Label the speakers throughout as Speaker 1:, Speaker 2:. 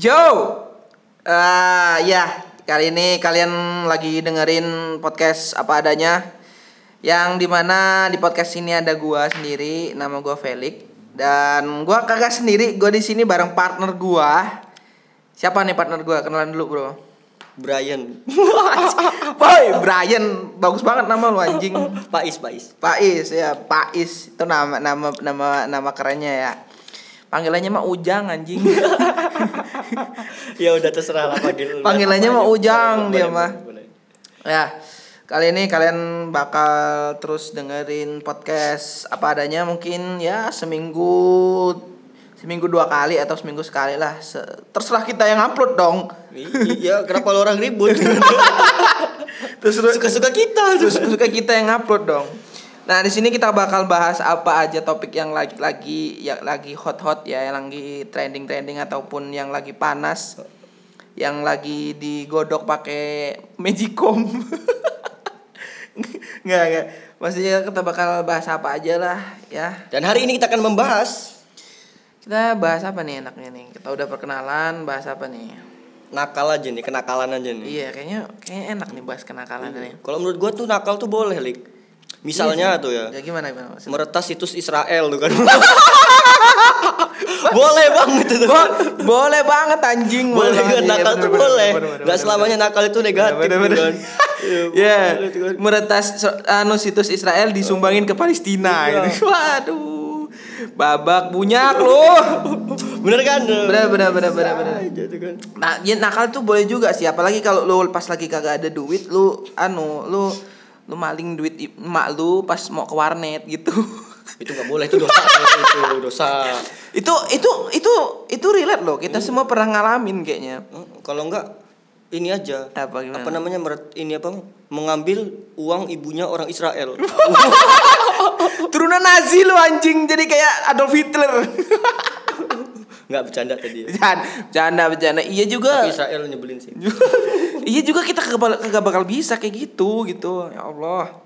Speaker 1: Yo, ah ya kali ini kalian lagi dengerin podcast apa adanya, yang dimana di podcast ini ada gua sendiri, nama gua Felix dan gua kagak sendiri, gua di sini bareng partner gua. Siapa nih partner gua? Kenalan dulu bro.
Speaker 2: Brian,
Speaker 1: Boy, Brian, bagus banget nama lu anjing.
Speaker 2: Pais, Pais.
Speaker 1: Pais ya, Pais itu nama nama nama nama kerennya ya. Panggilannya mah Ujang anjing.
Speaker 2: Ya udah terserah lah panggil.
Speaker 1: Panggilannya
Speaker 2: apa
Speaker 1: mah
Speaker 2: aja.
Speaker 1: Ujang
Speaker 2: Boleh,
Speaker 1: dia
Speaker 2: boleh,
Speaker 1: mah.
Speaker 2: boleh.
Speaker 1: Ya, kali ini kalian bakal terus dengerin podcast apa adanya mungkin ya seminggu seminggu dua kali atau seminggu sekali lah. Se- Terserah kita yang upload dong.
Speaker 2: I- Iya, kenapa lo orang ribut?
Speaker 1: Terus
Speaker 2: Suka-suka kita.
Speaker 1: terus suka kita yang upload dong. Nah, di sini kita bakal bahas apa aja topik yang lagi lagi yang lagi hot-hot ya, yang lagi trending-trending ataupun yang lagi panas. Yang lagi digodok pakai Magicom. Nggak, nggak. Maksudnya kita bakal bahas apa aja lah ya.
Speaker 2: Dan hari ini kita akan membahas
Speaker 1: Kita bahas apa nih enaknya nih? Kita udah perkenalan, bahas apa nih?
Speaker 2: nakal aja nih, kenakalan aja nih.
Speaker 1: Iya, kayaknya kayaknya enak nih bahas kenakalan nih.
Speaker 2: Kalau menurut gua tuh nakal tuh boleh, Lik. Misalnya tuh ya,
Speaker 1: Ya gimana gimana? maksudnya?
Speaker 2: meretas situs Israel tuh kan. boleh banget itu. tuh.
Speaker 1: Bo- boleh banget anjing
Speaker 2: Boleh kan,
Speaker 1: banget. Iya,
Speaker 2: nakal
Speaker 1: bener,
Speaker 2: tuh
Speaker 1: bener, bener,
Speaker 2: boleh.
Speaker 1: bener,
Speaker 2: Gak
Speaker 1: bener,
Speaker 2: selamanya nakal itu negatif
Speaker 1: Bener, bener.
Speaker 2: tuh kan. Iya,
Speaker 1: Ya,
Speaker 2: boleh tuh kan.
Speaker 1: meretas so- anu situs Israel disumbangin ke Palestina
Speaker 2: Iya.
Speaker 1: gitu. Waduh. Babak bunyak lu.
Speaker 2: Bener kan?
Speaker 1: Bener bener bener bener bener.
Speaker 2: Aja tuh kan.
Speaker 1: Nah, ya, nakal tuh boleh juga sih, apalagi kalau lu pas lagi kagak ada duit lu anu lu lu maling duit i- emak lu pas mau ke warnet gitu.
Speaker 2: itu nggak boleh itu dosa itu dosa
Speaker 1: itu itu itu itu relate loh,
Speaker 2: Iya.
Speaker 1: kita semua pernah ngalamin kayaknya.
Speaker 2: Eh, kalau nggak ini aja
Speaker 1: Apa gimana?
Speaker 2: apa namanya meret ini apa mengambil uang ibunya orang Israel
Speaker 1: Turunan Nazi lu anjing jadi kayak Adolf Hitler.
Speaker 2: nggak bercanda tadi ya.
Speaker 1: Jangan bercanda bercanda. Iya
Speaker 2: Tapi
Speaker 1: juga.
Speaker 2: Israel nyebelin sih
Speaker 1: iya juga kita kagak bal- kagak bakal bisa kayak gitu gitu. Ya Allah.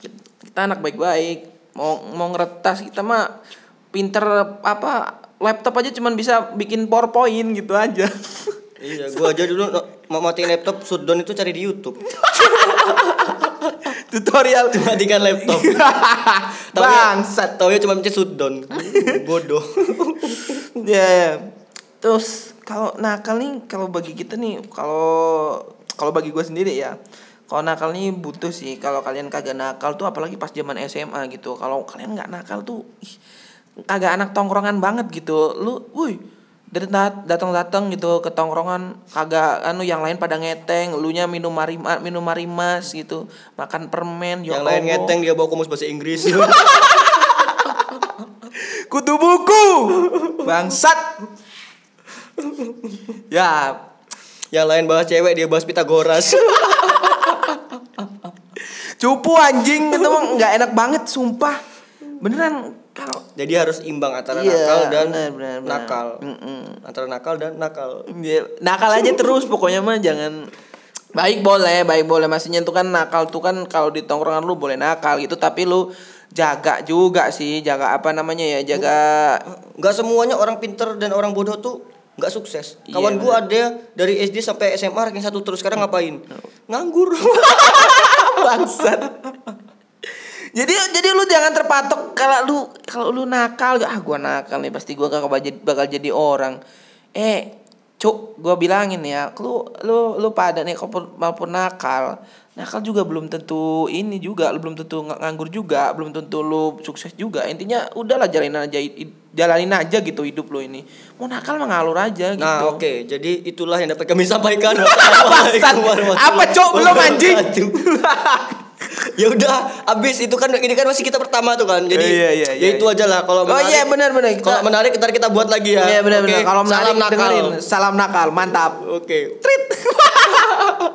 Speaker 1: Kita, kita anak baik-baik. Mau mau ngeretas kita mah pinter apa laptop aja cuman bisa bikin PowerPoint gitu aja.
Speaker 2: iya gua aja dulu no- mau matiin laptop shutdown itu cari di YouTube
Speaker 1: Tutorial
Speaker 2: matikan laptop Taunya-
Speaker 1: bangsat.
Speaker 2: taunya cuma pencet shutdown bodoh
Speaker 1: Ya. ya. Terus kalau nakal nih kalau bagi kita nih kalau kalau bagi gue sendiri ya. Kalau nakal nih butuh sih kalau kalian kagak nakal tuh apalagi pas zaman SMA gitu. Kalau kalian nggak nakal tuh ih, kagak anak tongkrongan banget gitu. Lu wuih dari dat- datang-datang gitu ke tongkrongan kagak anu yang lain pada ngeteng, lu nya minum marima minum marimas gitu, makan permen, ya
Speaker 2: yang lain
Speaker 1: Allah.
Speaker 2: ngeteng dia bawa komus bahasa Inggris
Speaker 1: Kutu buku. Bangsat. ya,
Speaker 2: yang lain bahas cewek dia bahas Pitagoras
Speaker 1: cupu anjing itu mah nggak enak banget sumpah. Beneran kalau
Speaker 2: jadi harus imbang antara
Speaker 1: Iya,
Speaker 2: nakal dan
Speaker 1: benar, benar, benar.
Speaker 2: nakal
Speaker 1: Mm-mm.
Speaker 2: antara nakal dan nakal
Speaker 1: ya, nakal aja terus pokoknya mah jangan baik boleh, baik boleh maksudnya tuh kan nakal tuh kan kalau di tongkrongan lu boleh nakal gitu tapi lu jaga juga sih, jaga apa namanya ya, jaga
Speaker 2: nggak semuanya orang pinter dan orang bodoh tuh nggak sukses.
Speaker 1: Iya,
Speaker 2: Kawan gua ada dari SD sampai SMA ranking satu terus sekarang ngapain?
Speaker 1: Oh.
Speaker 2: Nganggur.
Speaker 1: gitu. bangsat jadi jadi lu jangan terpatok kalau lu kalau lu nakal ah gua nakal nih pasti gua gak bakal jadi, bakal jadi orang eh cuk gua bilangin ya lu lu lu pada nih kalaupun maupun nakal nakal juga belum tentu ini juga lu belum tentu ng- nganggur juga belum tentu lu sukses juga intinya udahlah jalanin aja i- jalanin aja gitu hidup lu ini mau nakal mah ngalur aja gitu
Speaker 2: Nah, oke. Jadi itulah yang dapat kami sampaikan.
Speaker 1: Bangsat.
Speaker 2: Wassalamualaikum
Speaker 1: apa
Speaker 2: warahmatullahi
Speaker 1: cok belum anjing
Speaker 2: wabarakatuh. ya udah, abis itu kan ini kan masih kita pertama tuh kan. Jadi
Speaker 1: Iya, iya, iya,
Speaker 2: ya itu aja lah kalau
Speaker 1: oh
Speaker 2: menarik.
Speaker 1: iya benar benar kita
Speaker 2: Kalau menarik ntar kita buat lagi ya.
Speaker 1: Iya benar
Speaker 2: Oke,
Speaker 1: benar. Kalau menarik
Speaker 2: salam nakal.
Speaker 1: dengerin. Salam nakal, mantap.
Speaker 2: Oke.
Speaker 1: Treat.